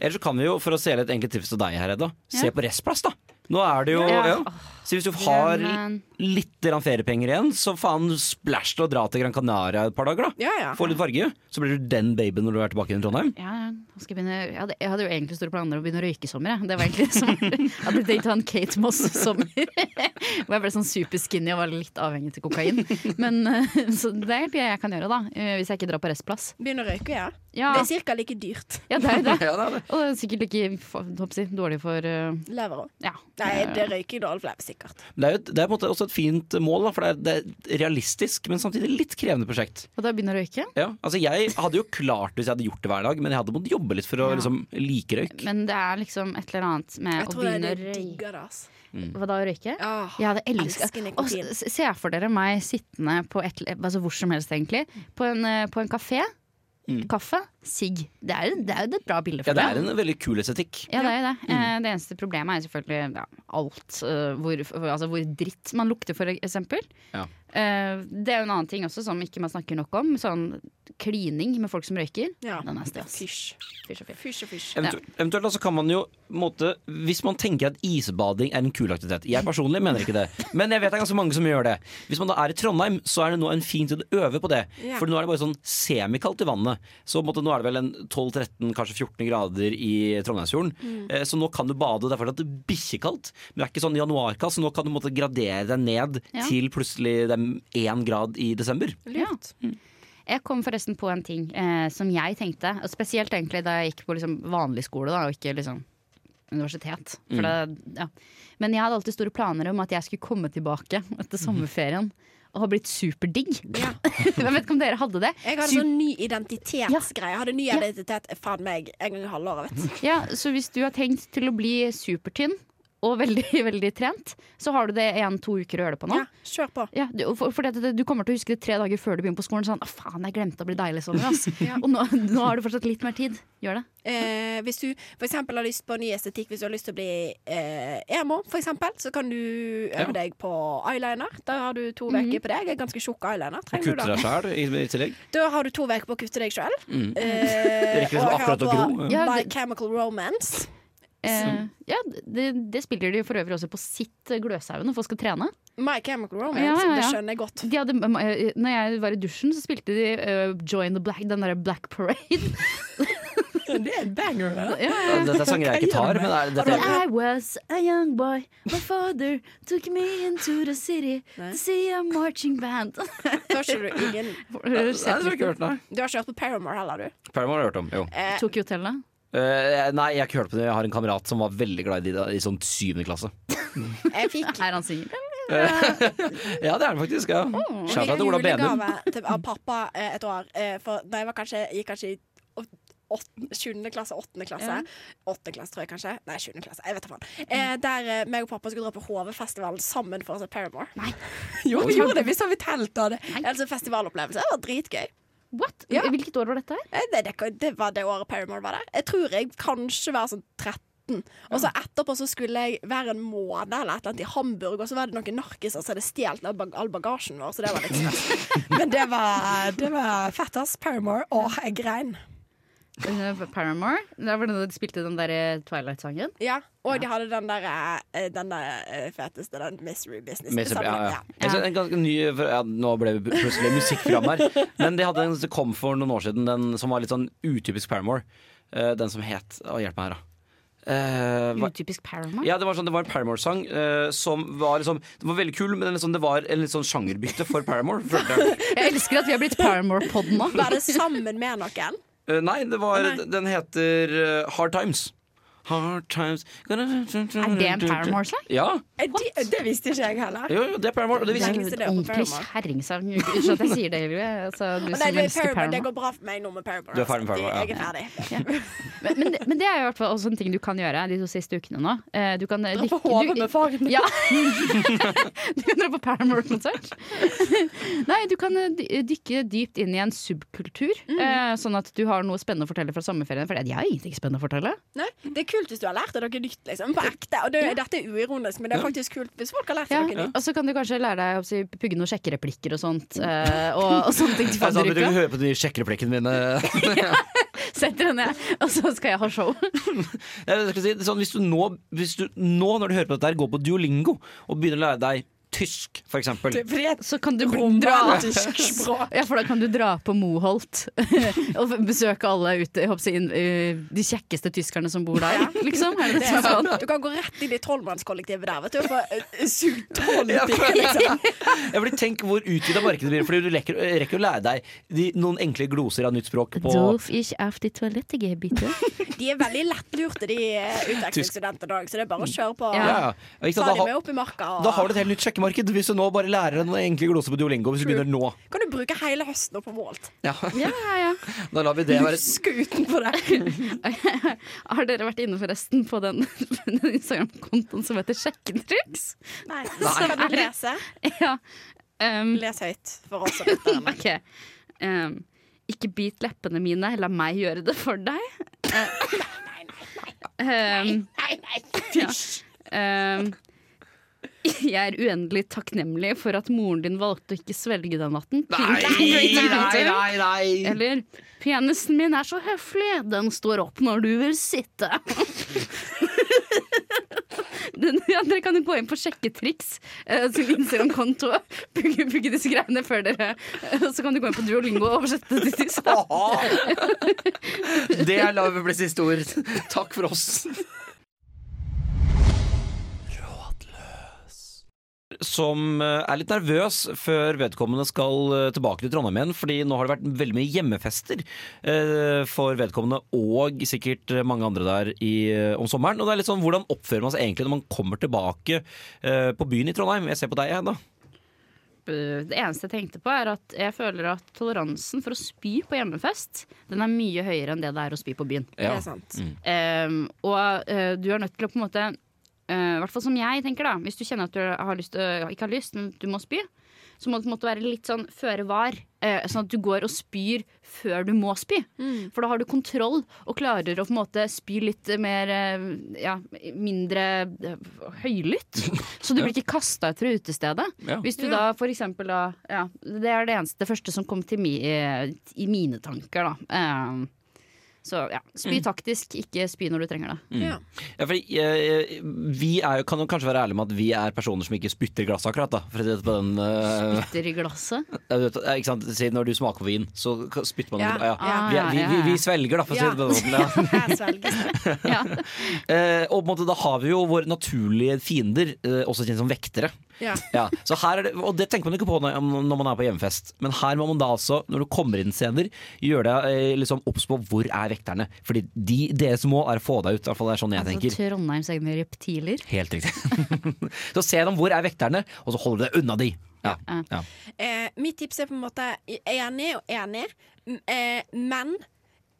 D: Eller så kan vi jo, for å stjele et enkelt tips til deg her, Edda, se på Restplass, da. Nå er det jo
E: Ja.
D: ja. Så hvis du har
E: Drømmen.
D: litt grann feriepenger igjen, så faen splæsj til å dra til Gran Canaria et par dager, da.
F: Ja, ja.
D: Få litt farge. Så blir du den babyen når du er tilbake i Trondheim.
E: Ja, ja. Nå skal jeg, begynne, jeg, hadde, jeg hadde jo egentlig store planer om å begynne å røyke i sommer. jeg. Det var egentlig som Jeg hadde tenkt å ha en Kate Moss-sommer. Hvor jeg ble sånn superskinny og var litt avhengig til kokain. Men, eh, så det er helt det jeg kan gjøre, da. eh, Hvis jeg ikke drar på Restplass.
F: Begynn å røyke, ja.
E: Ja.
F: Det er ca. like dyrt.
E: Ja, det er jo det. Og det er sikkert ikke fa- håper jeg, dårlig for eh,
F: Lever òg.
E: Ja.
F: Nei, det røyker dårlig for lever, sikkert.
D: Men Det er jo et, det er på en måte også et fint mål, da, for det er, det er realistisk, men samtidig litt krevende prosjekt.
E: Og da begynner jeg å røyke.
D: Ja. Altså, jeg hadde jo klart det hvis jeg hadde gjort det hver dag, men jeg hadde måttet jobbe litt for å
E: Ja.
D: liksom, like røyk.
E: Men det er liksom et eller annet med
F: Jeg
E: å
F: tror det er
E: begynne
F: det
E: å
F: de
E: røyke.
F: digger det, altså.
E: Mm. Hva da, å røyke?
F: Ah,
E: Jeg hadde elsket
F: elsker
E: Og
F: nikotin.
E: s- Se for dere meg sittende på et, altså hvor som helst, egentlig. På en, eh, på en kafé. Kaffe, sigg. Det er jo Mm. det er jo et bra bilde for
D: Ja, det er en veldig kul estetikk.
E: Ja, det er jo det. Eh, Det eneste problemet er selvfølgelig ja, alt. eh, Hvor, hvor- altså hvor dritt man lukter, for eksempel.
D: Ja.
E: Eh, Det er jo en annen ting også som ikke man snakker nok om. Sånn klining med folk som røyker.
F: Ja.
E: Den er stas.
F: Fysj.
E: Fysj og fy.
F: Fysj og fysj.
D: Eventu Eventuelt da, så kan man jo på en måte, Hvis man tenker at isbading er en kul aktivitet Jeg personlig mener ikke det, men jeg vet det er ganske mange som gjør det. Hvis man da er i Trondheim, så er det nå en fin tid å øve på det.
F: Ja.
D: For nå er det bare sånn semikaldt i vannet. Så på en måte, nå er det vel en 12-13, kanskje 14 grader i Trondheimsfjorden. Eh, Så nå kan du bade. Det er fortsatt bikkjekaldt, men det er ikke sånn januarkald, så nå kan du på en måte gradere deg ned
E: Ja.
D: til plutselig det er én grad i desember.
F: Lurt.
E: Jeg kom forresten på en ting eh, som jeg tenkte, og spesielt egentlig da jeg gikk på liksom, vanlig skole da, og ikke liksom universitet. For det, ja. Men jeg hadde alltid store planer om at jeg skulle komme tilbake etter sommerferien og har blitt superdigg.
F: Ja.
E: Jeg vet ikke om dere hadde det.
F: Jeg hadde
E: Super-
F: sånn ny identitetsgreie. Jeg hadde ny
E: Ja.
F: identitet eh, faen meg en gang i halvåret. vet du.
E: Ja, så hvis du har tenkt til å bli supertynn og veldig, veldig trent, så har du det én-to uker å gjøre det på nå.
F: Ja, kjør på.
E: Ja, du, for, for det, du kommer til å huske det tre dager før du begynner på skolen. Sånn, «Å, faen, jeg glemte å bli deilig sommer, ass.
F: Ja.
E: Og nå, nå har du fortsatt litt mer tid. Gjør det.
F: Eh, hvis du for eksempel har lyst på ny estetikk, hvis du har lyst til å bli eh, emo, for eksempel, så kan du øve deg på eyeliner. Da har du
E: Mhm.
F: to uker på deg. En ganske tjukk eyeliner. Trenger du
D: Kutter
F: da.
D: deg sjæl i, i tillegg.
F: da har du to uker på å kutte deg sjøl.
A: Mm.
F: Eh,
D: Det rekker liksom
F: og jeg har
D: akkurat å
F: på
D: gro.
E: Ja,
F: My
E: det-
F: Chemical Romance.
E: Eh, ja, det, det spiller de for øvrig også på sitt eh, Gløshaugen når folk skal trene.
F: My Chemical Romance,
E: Ja, ja,
F: det
E: ja.
F: skjønner jeg godt.
E: De hadde, eh, når jeg var i dusjen, så spilte de eh, Join the Black, den derre Black Parade.
F: Det er en banger.
D: Dette er sanger jeg ikke tar, men er, dette er
E: I was a young boy, my father took me into the city to see a marching band.
F: Tør ikke du ingen
D: Nei, det har jeg ikke hørt, nei.
F: Du har ikke hørt på Paramore heller, du?
D: Paramore har jeg hørt om. Jo.
E: Tok jo til det.
D: Eh, nei, jeg har ikke hørt på det. Jeg har en kamerat som var veldig glad i de da, i sånn syvende klasse.
F: Jeg fikk
E: Er han singel?
D: Ja, det er det faktisk. Ja.
F: Jeg
D: Shout out
F: fikk en
D: til Ola Benum.
F: julegave til- av pappa eh, et år. eh, For da jeg var kanskje, gikk kanskje i ått- sjuende klasse, åttende klasse. Åttende klasse, tror jeg kanskje. Nei, sjuende klasse. Jeg vet da faen. Eh, der eh, meg og pappa skulle dra på HV-festivalen sammen for å se Paramore. Nei. jo, vi gjorde det. Vi sov i telt og det. Altså, festivalopplevelse. Det var dritgøy.
E: What?
F: Ja.
E: Hvilket år var dette her?
F: Eh, Det, det, det var det året Paramore var der. Jeg tror jeg kanskje var sånn 13. Og så etterpå så skulle jeg være en måned eller et eller annet i Hamburg, og så var det noen narkiser som hadde stjålet all bag- all bagasjen vår, så det var litt stress. Men det var, det var fett, ass. Paramore. Åh, jeg grein.
E: Eh, Paramore. Der var det da de spilte den der eh, Twilight-sangen.
F: Ja, Og de hadde den der, eh, den der eh, feteste, den Mystery Business.
D: Med- Ja, ja.
F: Ja.
D: Jeg synes En ganske ny ja, Nå ble det plutselig musikkprogram her. Men de hadde en som kom for noen år siden, den som var litt sånn utypisk Paramore. Eh, den som het Å, hjelp meg her, da. Eh, hva-
E: Utypisk Paramore.
D: Ja, det var, sånn, det var en Paramore-sang eh, som var liksom Det var veldig kul, men liksom, det var en litt sånn sjangerbytte for Paramore. følte jeg.
E: Jeg elsker at vi har blitt Paramore-pod nå.
F: Var det sammen med noen?
D: Eh, nei, det var
F: Nei.
D: Den heter eh, Hard Times. Hard Times Er
E: Er det en Paramore-slag?
D: Ja.
F: Eh, De, det visste ikke jeg heller.
D: Jo, jo, det er Paramore. Og det
E: Det
D: visste
E: er
D: jeg
E: en
F: Lengste det på
E: ordentlig
F: Paramore.
E: kjerringsang. Unnskyld at jeg sier det, Hilve. Altså, du
F: Å, Nei,
E: som
F: det, er
E: elsker
F: Paramore, det
E: Paramore.
F: går bra for meg nå med Paramore.
D: Du er ferdig med
F: altså.
D: Paramore, ja.
F: Jeg er ferdig.
E: Men, men, det- men det er jo i hvert fall også en ting du kan gjøre de to siste ukene nå. Eh, Du kan eh,
F: Dra på
E: dykke-
F: HV
E: du-
F: med faren din.
E: Ja. Du kan dra på Paramore-konsert. Nei, du kan eh, dy- dykke dypt inn i en subkultur,
F: Mm.
E: eh, sånn at du har noe spennende å fortelle fra sommerferien. For jeg har ingenting spennende å fortelle.
F: Nei, Det er kult hvis du har lært deg noe nytt. Liksom, på ekte. Og det, Dette er uironisk, men det er faktisk kult hvis folk har lært
E: Ja,
F: seg noe nytt.
E: Og så kan du kanskje lære deg å si, pugge noen sjekkereplikker og sånt. eh, og, og sånne ting til
D: Jeg sa sånn du
E: fadderuka.
D: høre på de sjekkereplikkene mine.
E: Setter henne, og så skal jeg ha show.
D: Jeg skal si, det er sånn, hvis, du nå, hvis du nå, når du hører på dette, her går på Duolingo og begynner å lære deg tysk, for eksempel
E: Så kan du bli- dra
F: Romantisk språk.
E: ja, for da kan du dra på Moholt og besøke alle ute, jeg håper å si, inn, eh, de kjekkeste tyskerne som bor der. Liksom, er det det
F: Det
E: som
F: er
E: er
F: sånn.
E: sånn?
F: Du kan gå rett inn i trollmannskollektivet der. Vet du, og få, eh, liksom. sugd troll.
D: Ja, for- Ja, fordi Tenk hvor utvida markedet blir, Fordi du rekker, rekker å lære deg de, noen enkle gloser av nytt språk på
E: ich auf die Toilette gehe, bitte?
F: De er veldig lettlurte, de eh, utvekslingsstudentene i dag, så det er bare å kjøre på.
E: Ja.
D: ja, ja. Ikke
F: Ta
D: sant? Da,
F: de med
D: ha-
F: opp i marka. Og...
D: da har du et helt nytt sjekkemarked, hvis du nå bare lærer deg noen enkle gloser på Duolingo. Hvis du begynner nå
F: Kan du bruke hele høsten opp på Målt?
D: ja.
E: Ja, ja, ja.
D: Da lar vi det være
F: Huske utenpå det.
E: Har dere vært inne forresten på den, den Instagram-kontoen som heter Sjekketriks?
F: Nei. Skal du lese?
E: Ja. Um,
F: Les høyt for oss. og lytterne.
E: Ok Ehm, Ikke bit leppene mine, la meg gjøre det for deg. nei, nei, nei. Fysj. Ehm, jeg er uendelig takknemlig for at moren din valgte å ikke svelge den natten.
D: nei!
E: Eller 'penisen min er så høflig, den står opp når du vil sitte'. den, ja, dere kan jo gå inn på Sjekketriks eh, sin Instagram-konto. Pugge, pugge disse greiene før dere eh, Så kan du gå inn på Duolingo og oversette det til tysk. da.
D: Det er lar vi bli siste ord. Takk for oss. Som eh, er litt nervøs før vedkommende skal eh, tilbake til Trondheim igjen. Fordi nå har det vært veldig mye hjemmefester eh, for vedkommende og sikkert eh, mange andre der i, eh, om sommeren. Og det er litt sånn, Hvordan oppfører man seg egentlig når man kommer tilbake eh, på byen i Trondheim? Jeg ser på deg, jeg, da.
E: kjempe... Det eneste jeg tenkte på, er at jeg føler at toleransen for å spy på hjemmefest, den er mye høyere enn det det er å spy på byen.
F: Det
A: Ja.
F: er sant.
D: Mm,
E: Ehm, og eh, du er nødt til å på en måte eh, I hvert fall som jeg tenker da Hvis du kjenner at du har lyst, eh, ikke har lyst, men du må spy Så må du på en måte være litt sånn føre var eh, Sånn at du går og spyr før du må spy
A: Mm.
E: For da har du kontroll Og klarer å på en måte spy litt mer eh, ja, Mindre eh, høylytt Så du blir ikke kastet ut fra utestedet
A: Ja.
E: Hvis du da for eksempel da, ja, Det er det eneste det første som kom til mi, eh, I mine tanker da Ehm, så ja, spy taktisk, ikke spy når du trenger det.
D: mm.
F: Ja.
D: Ja, fordi, eh, vi er jo, kan jo kanskje være ærlige med at vi er personer som ikke spytter i glasset akkurat. da For å si det på den eh,
E: Bitter i glasset.
D: ja, du vet, eh, ikke sant? Si, Når du smaker på vin, så k- spytter man
F: Ja.
D: ja.
E: Ah,
D: Vi, er- vi,
E: ja,
D: vi,
E: ja.
D: vi svelger, da, for å si det på den måten. Ja.
F: Her svelges det.
E: Ja.
D: Eh, og på en måte, da har vi jo våre naturlige fiender, eh, også kjent som vektere.
F: Ja.
D: Ja, så her er det, og det tenker man ikke på når, når man er på hjemmefest. Men her må man da altså, når du kommer inn senere, gjøre deg eh, liksom obs på hvor er vekterne. Fordi de, deres mål er å få deg ut. I hvert fall det er sånn jeg
E: Altså,
D: tenker.
E: Trondheims egne reptiler.
D: Helt riktig. så se dem hvor er vekterne, og så holder du deg unna de. Ja. Ja.
F: Eh, mitt tips er på en måte enig og enig, m- eh, men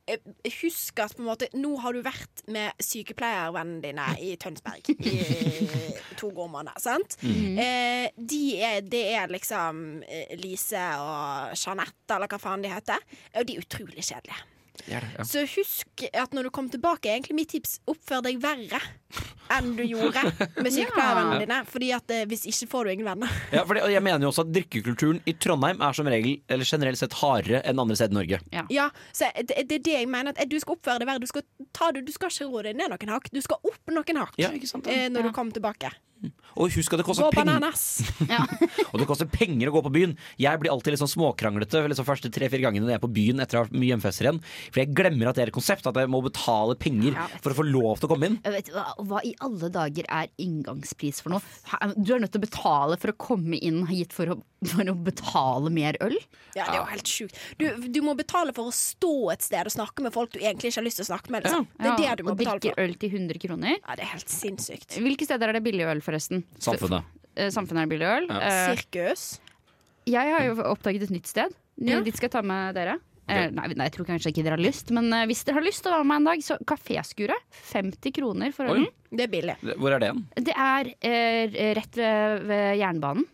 F: eh, Husk at på en måte, nå har du vært med sykepleiervennene dine i Tønsberg i to gode måneder. sant? Eh, de er, det er liksom eh, Lise og Jeanette, eller hva faen de heter. Og de er utrolig kjedelige. Så husk at når du kom tilbake, er egentlig mitt tips oppfør deg verre enn du gjorde med sykepleiervennene dine. Fordi at eh, hvis ikke får du ingen venner.
D: Ja, fordi, og jeg mener jo også at drikkekulturen i Trondheim er som regel, eller generelt sett hardere enn andre steder i Norge.
F: Ja, så det, det er det jeg mener. At du skal oppføre deg verre. Du skal, ta det, du skal ikke roe deg ned noen hakk. Du skal opp noen hakk
D: Ja, ikke sant, ja.
F: eh, når du kommer tilbake.
D: Og husk at det koster
F: Gå
D: penger.
F: bananas!
E: Ja.
D: Og det koster penger å gå på byen. Jeg blir alltid litt sånn småkranglete liksom første tre-fire gangene når jeg er på byen etter å ha vært mye hjemmefester igjen. For jeg glemmer at det er et konsept, at jeg må betale penger
E: Ja, vet
D: for å få lov til å komme inn.
E: Jeg Vet, hva, hva i alle dager er inngangspris for noe? Hæ, Du er nødt til å betale for å komme inn hit for å, for å betale mer øl?
F: Ja, det er jo helt sjukt. Du, du må betale for å stå et sted og snakke med folk du egentlig ikke har lyst til å snakke med. Liksom. Det er det du må
E: og
F: betale
E: drikke
F: for.
E: øl til 100 kroner.
F: Ja, det er helt sinnssykt.
E: Hvilke steder er det billig øl, forresten?
D: Samfunnet.
E: Eh, Samfunnet er billig øl. Eh,
F: Sirkus.
E: Jeg har jo oppdaget et nytt sted. Ny-
F: Ja.
E: Dit skal jeg ta med dere. Eh, Nei, nei, jeg tror kanskje ikke dere har lyst, men eh, hvis dere har lyst til å være med meg en dag, så Kaféskuret. 50 kroner for ølen.
F: Det er billig.
D: Hvor er det hen?
E: Det er eh, rett ved, ved jernbanen.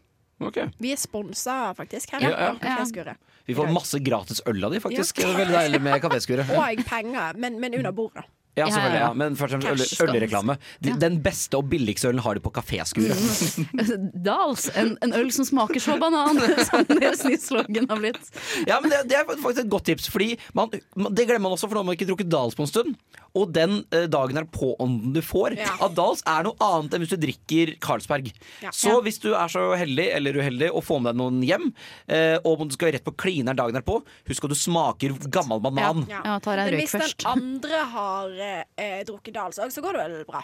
F: Vi er sponsa faktisk her.
E: Ja,
F: av
E: ja.
F: Kaféskuret.
D: Vi får masse gratis øl av de, faktisk. Det er Veldig deilig med kaféskuret.
F: Og penger, men, men under bordet.
D: Ja,
E: Ja,
D: selvfølgelig.
E: ja.
D: Ja. Men først og fremst øl-
E: Cash.
D: ølreklame. De- Den beste og billigste ølen har de på kaféskuret.
E: Altså, Dals, en, en øl som smaker så banan, som deres nye slogan har blitt.
D: Ja, men det, det er faktisk et godt tips, Fordi man, man, det glemmer man også, for nå har man ikke drukket Dals på en stund. Og den eh, dagen er påånden du får
F: Ja.
D: av Dals, er noe annet enn hvis du drikker Carlsberg.
F: Ja.
D: Så hvis du er så heldig eller uheldig å få med deg noen hjem, eh, og om du skal rett på klineren dagen derpå, husk at du smaker gammel banan. Ja,
E: Ja, tar jeg en
F: men
E: røyk
F: hvis den
E: først.
F: andre har eh, eh, drukket Dals òg, så går det vel bra.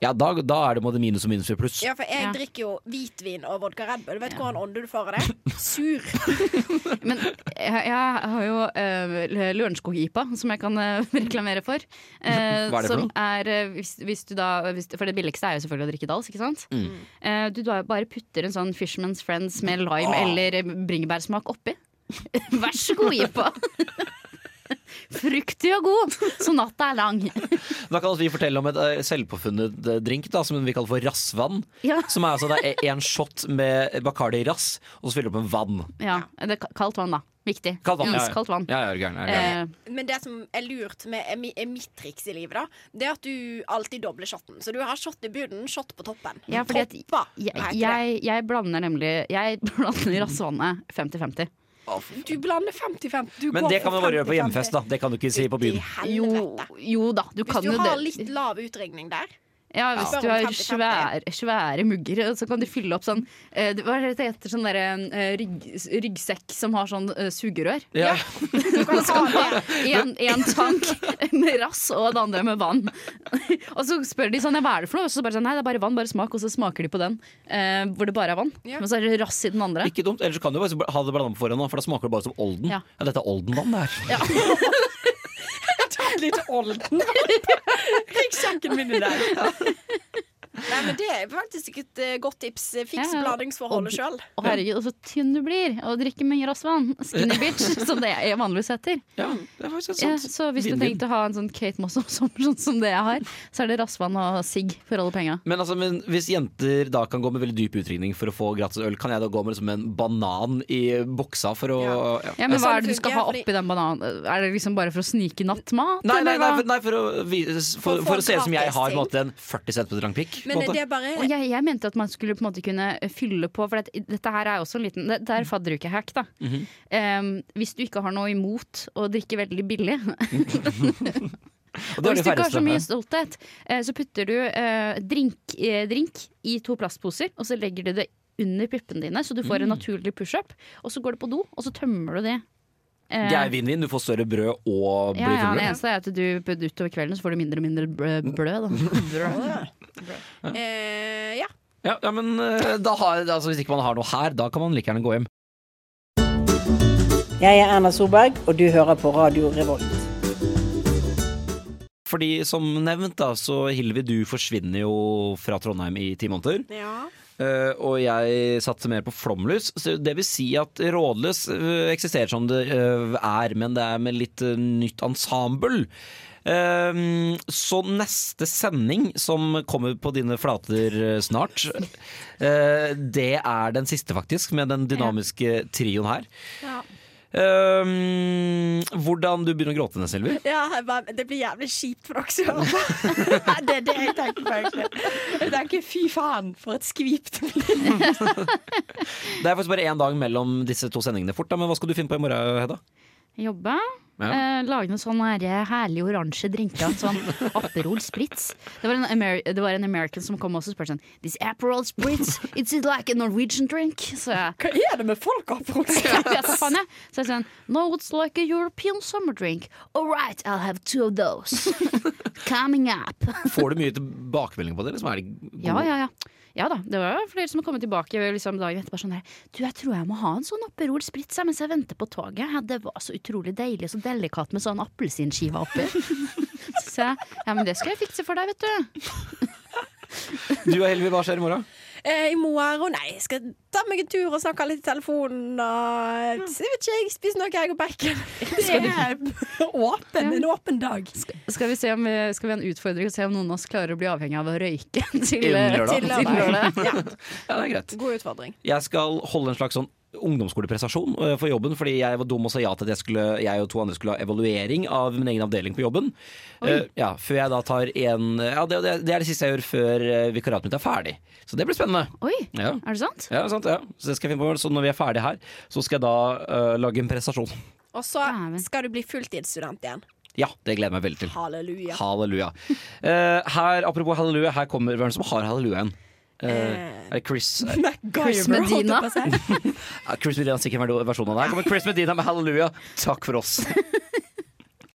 D: da, da er det både minus og minus blir pluss.
F: Ja, for jeg
E: Ja.
F: drikker jo hvitvin og vodka Red Bull. Vet du hvordan ånde du får av det? Sur.
E: Men jeg, jeg har jo uh, Lørenskog-IPA, som jeg kan eh, reklamere for. Eh,
D: Hva er det for
E: som
D: noe?
E: er, eh, hvis, hvis du da, hvis, For det billigste er jo selvfølgelig å drikke Dals, ikke sant?
D: Mm.
E: Eh, du da bare putter en sånn Fishman's Friends med lime eller bringebærsmak oppi. Vær så god, IPA! Fruktig og god, så natta er lang.
D: Da kan også vi fortelle om et eh, selvpåfunnet eh, drink da, som vi kaller for rassvann.
E: Ja.
D: Som er altså det er en shot med Bacardi rass, og så fyller du opp med vann.
E: Ja, det er ka- Kaldt vann, da. Viktig.
D: Kaldt vann.
E: Iskaldt vann.
D: Ja, ja, er du gæren, er du gæren.
E: Eh,
F: Men det som er lurt med er mi- er mitt triks i livet, da, det er at du alltid dobler shotten. Så du har shot i bunnen, shot på toppen.
E: ja, fordi at
F: Toppa
E: jeg,
F: heter det.
E: jeg, jeg blander nemlig Jeg blander rassvannet 50-50.
F: Du blander 50-50. Du
D: Men
F: går
D: det kan
F: for
D: man bare gjøre på
F: 50-50.
D: hjemmefest, da. Det kan du ikke si på byen.
F: Ut i
E: Jo,
F: helvete.
E: jo da, du kan
F: Hvis du
E: jo
F: har
E: det.
F: litt lav utregning der
E: Ja, hvis
F: Ja.
E: du har
F: 50-50.
E: svære, svære mugger, så kan du fylle opp sånn eh, det- Hva er det det heter? Sånn derre eh, rygg, ryggsekk som har sånn eh, sugerør.
D: Ja.
F: Du kan ha
E: Sånn.
F: det.
E: En, en tank med rass og det andre med vann. Og så spør de sånn, ja, hva er det for noe? Og så bare sånn, nei, det er bare vann, bare smak. Og så smaker de på den eh, hvor det bare er vann.
F: Ja.
E: Men så er det rass i den andre.
D: Ikke dumt. Ellers kan du bare ha det blanda på forhånd, da, for da smaker det bare som Olden. Ja.
E: Ja.
D: dette er Olden-vann, det her.
F: Litt olden. Ryggsekken min er der. Nei, men Det er faktisk et eh, godt tips. Fiks
E: Ja, ja.
F: bladingsforholdet sjøl.
E: Å herregud, og så tynn du blir! Og drikker mye rassvann. Skinny bitch, som det jeg vanligvis heter.
D: Ja, det er faktisk
E: Ja,
D: sant.
E: så hvis du
D: Vinn-vinn.
E: tenkte å ha en sånn Kate Moss om sommeren sånn som det jeg har, så er det rassvann og sigg for alle penga.
D: Men, altså, men hvis jenter da kan gå med veldig dyp utringning for å få gratis øl, kan jeg da gå med liksom en banan i buksa for å ja.
E: Ja, men hva
F: Ja, sånn
E: er det du skal
F: funker,
E: ha
F: fordi-
E: oppi den bananen? Er det liksom bare for å snike nattmat?
D: Nei, nei,
E: eller
D: nei,
E: hva?
D: for, nei for, å, vise- for,
F: For å få
D: for å se ut som jeg
F: gratis
D: har på en
F: ting.
D: måte, en 40 cm lang pikk. på en
F: Men
D: måte.
F: det er bare
E: Og jeg, jeg mente at man skulle på en måte kunne eh, fylle på, for det, dette her er også en liten Det, det er fadderukehack, da.
D: Mhm.
E: Em, hvis du ikke har noe imot å drikke veldig billig,
D: Og
E: og
D: det er
E: hvis
D: de
E: du ikke har så
D: færreste.
E: mye stolthet, eh, så putter du eh, drink, eh, drink i to plastposer, og så legger du det under puppene dine, så du får
D: Mm.
E: en naturlig pushup. Og så går du på do, og så tømmer du det. Eh,
D: Det er vinn-vinn. Du får større brød og blir
E: ja, ja,
D: fullere.
E: det eneste er at du på- utover kvelden så får du mindre og mindre
D: Mm.
E: brød, blød. Da.
F: eh, Ja.
D: Ja, ja, men eh, da har, altså, Hvis ikke man har noe her, da kan man like gjerne gå hjem.
H: Jeg er Erna Solberg, og du hører på Radio Revolt.
D: Fordi som nevnt, da, så Hilvi, du forsvinner jo fra Trondheim i ti måneder.
F: ja.
D: Eh, og jeg satser mer på flomlys. Så det vil si at rådløs eh, eksisterer som det eh, er, men det er med litt eh, nytt ensemble. Eh, så neste sending, som kommer på dine flater eh, snart, eh, det er den siste, faktisk, med den dynamiske trioen her.
F: Ja.
D: Eh, hvordan Du begynner å gråte, Neselvi.
F: Ja, jeg bare, det blir jævlig kjipt for dere som hører på. Det er det jeg tenker på, egentlig. Jeg tenker fy faen, for et skvip det blir.
D: Det er faktisk bare én dag mellom disse to sendingene fort, da, men hva skal du finne på i morgen, Hedda?
E: Jobbe. Eh, lage noen sånne her herlige oransje drinker. Sånn Aperol Spritz. Det var, en Amer det var en American som kom også og spurte sånn This Aperol Spritz, it's like a Norwegian drink. Så jeg
F: Hva er det med folk oppe
E: jeg vet da faen jeg. Så jeg sånn No, it's like a European summer drink. All right, I'll have two of those. Coming up.
D: Får du mye tilbakemelding på det? Liksom? Er det gode-
E: Ja, ja, ja. Ja da, det var flere som kom tilbake liksom dagen etterpå sånn der Du, jeg tror jeg må ha en sånn Aperol Spritz jeg, mens jeg venter på toget. Ja, det var så utrolig deilig, så delikat med sånn appelsinskive oppi. Så sa jeg ja, men det skal jeg fikse for deg, vet du.
D: Du og Helvi, hva skjer i morgen?
F: eh, i morgen? Nei, jeg skal ta meg en tur og snakke litt i telefonen. Og, jeg vet ikke, jeg spiser noe egg og bacon. Det er åpen, en åpen dag.
E: Skal vi, se om vi, skal vi ha en utfordring og se om noen av oss klarer å bli avhengig av å røyke til eh,
D: Innen lørdag.
E: til lørdag.
D: Ja, det er greit.
F: God utfordring.
D: Jeg skal holde en slags sånn ungdomsskoleprestasjon eh, for jobben, fordi jeg var dum og sa ja til at jeg, skulle, jeg og to andre skulle ha evaluering av min egen avdeling på jobben. Eh, ja, før jeg da tar en Ja, det, det, det er det siste jeg gjør før eh, vikariatet mitt er ferdig. Så det blir spennende.
E: Oi,
D: Ja.
E: er det sant?
D: Ja, sant, ja. Så, det skal jeg finne på. så når vi er ferdig her, så skal jeg da eh, lage en prestasjon.
F: Og så
E: Dæven.
F: skal du bli fulltidsstudent igjen.
D: Ja, det gleder jeg meg veldig til.
F: Halleluja.
D: Halleluja. Eh, her, apropos halleluja, her kommer hvem er det som har hallelujaen. Eh,
F: Eh.
D: er det Chris
F: MacGyver,
E: Chris Medina.
F: holdt jeg på å si.
D: Ja, Chris Medina sikkert en versjon av det her. Kommer Chris Medina med Halleluja. Takk for oss.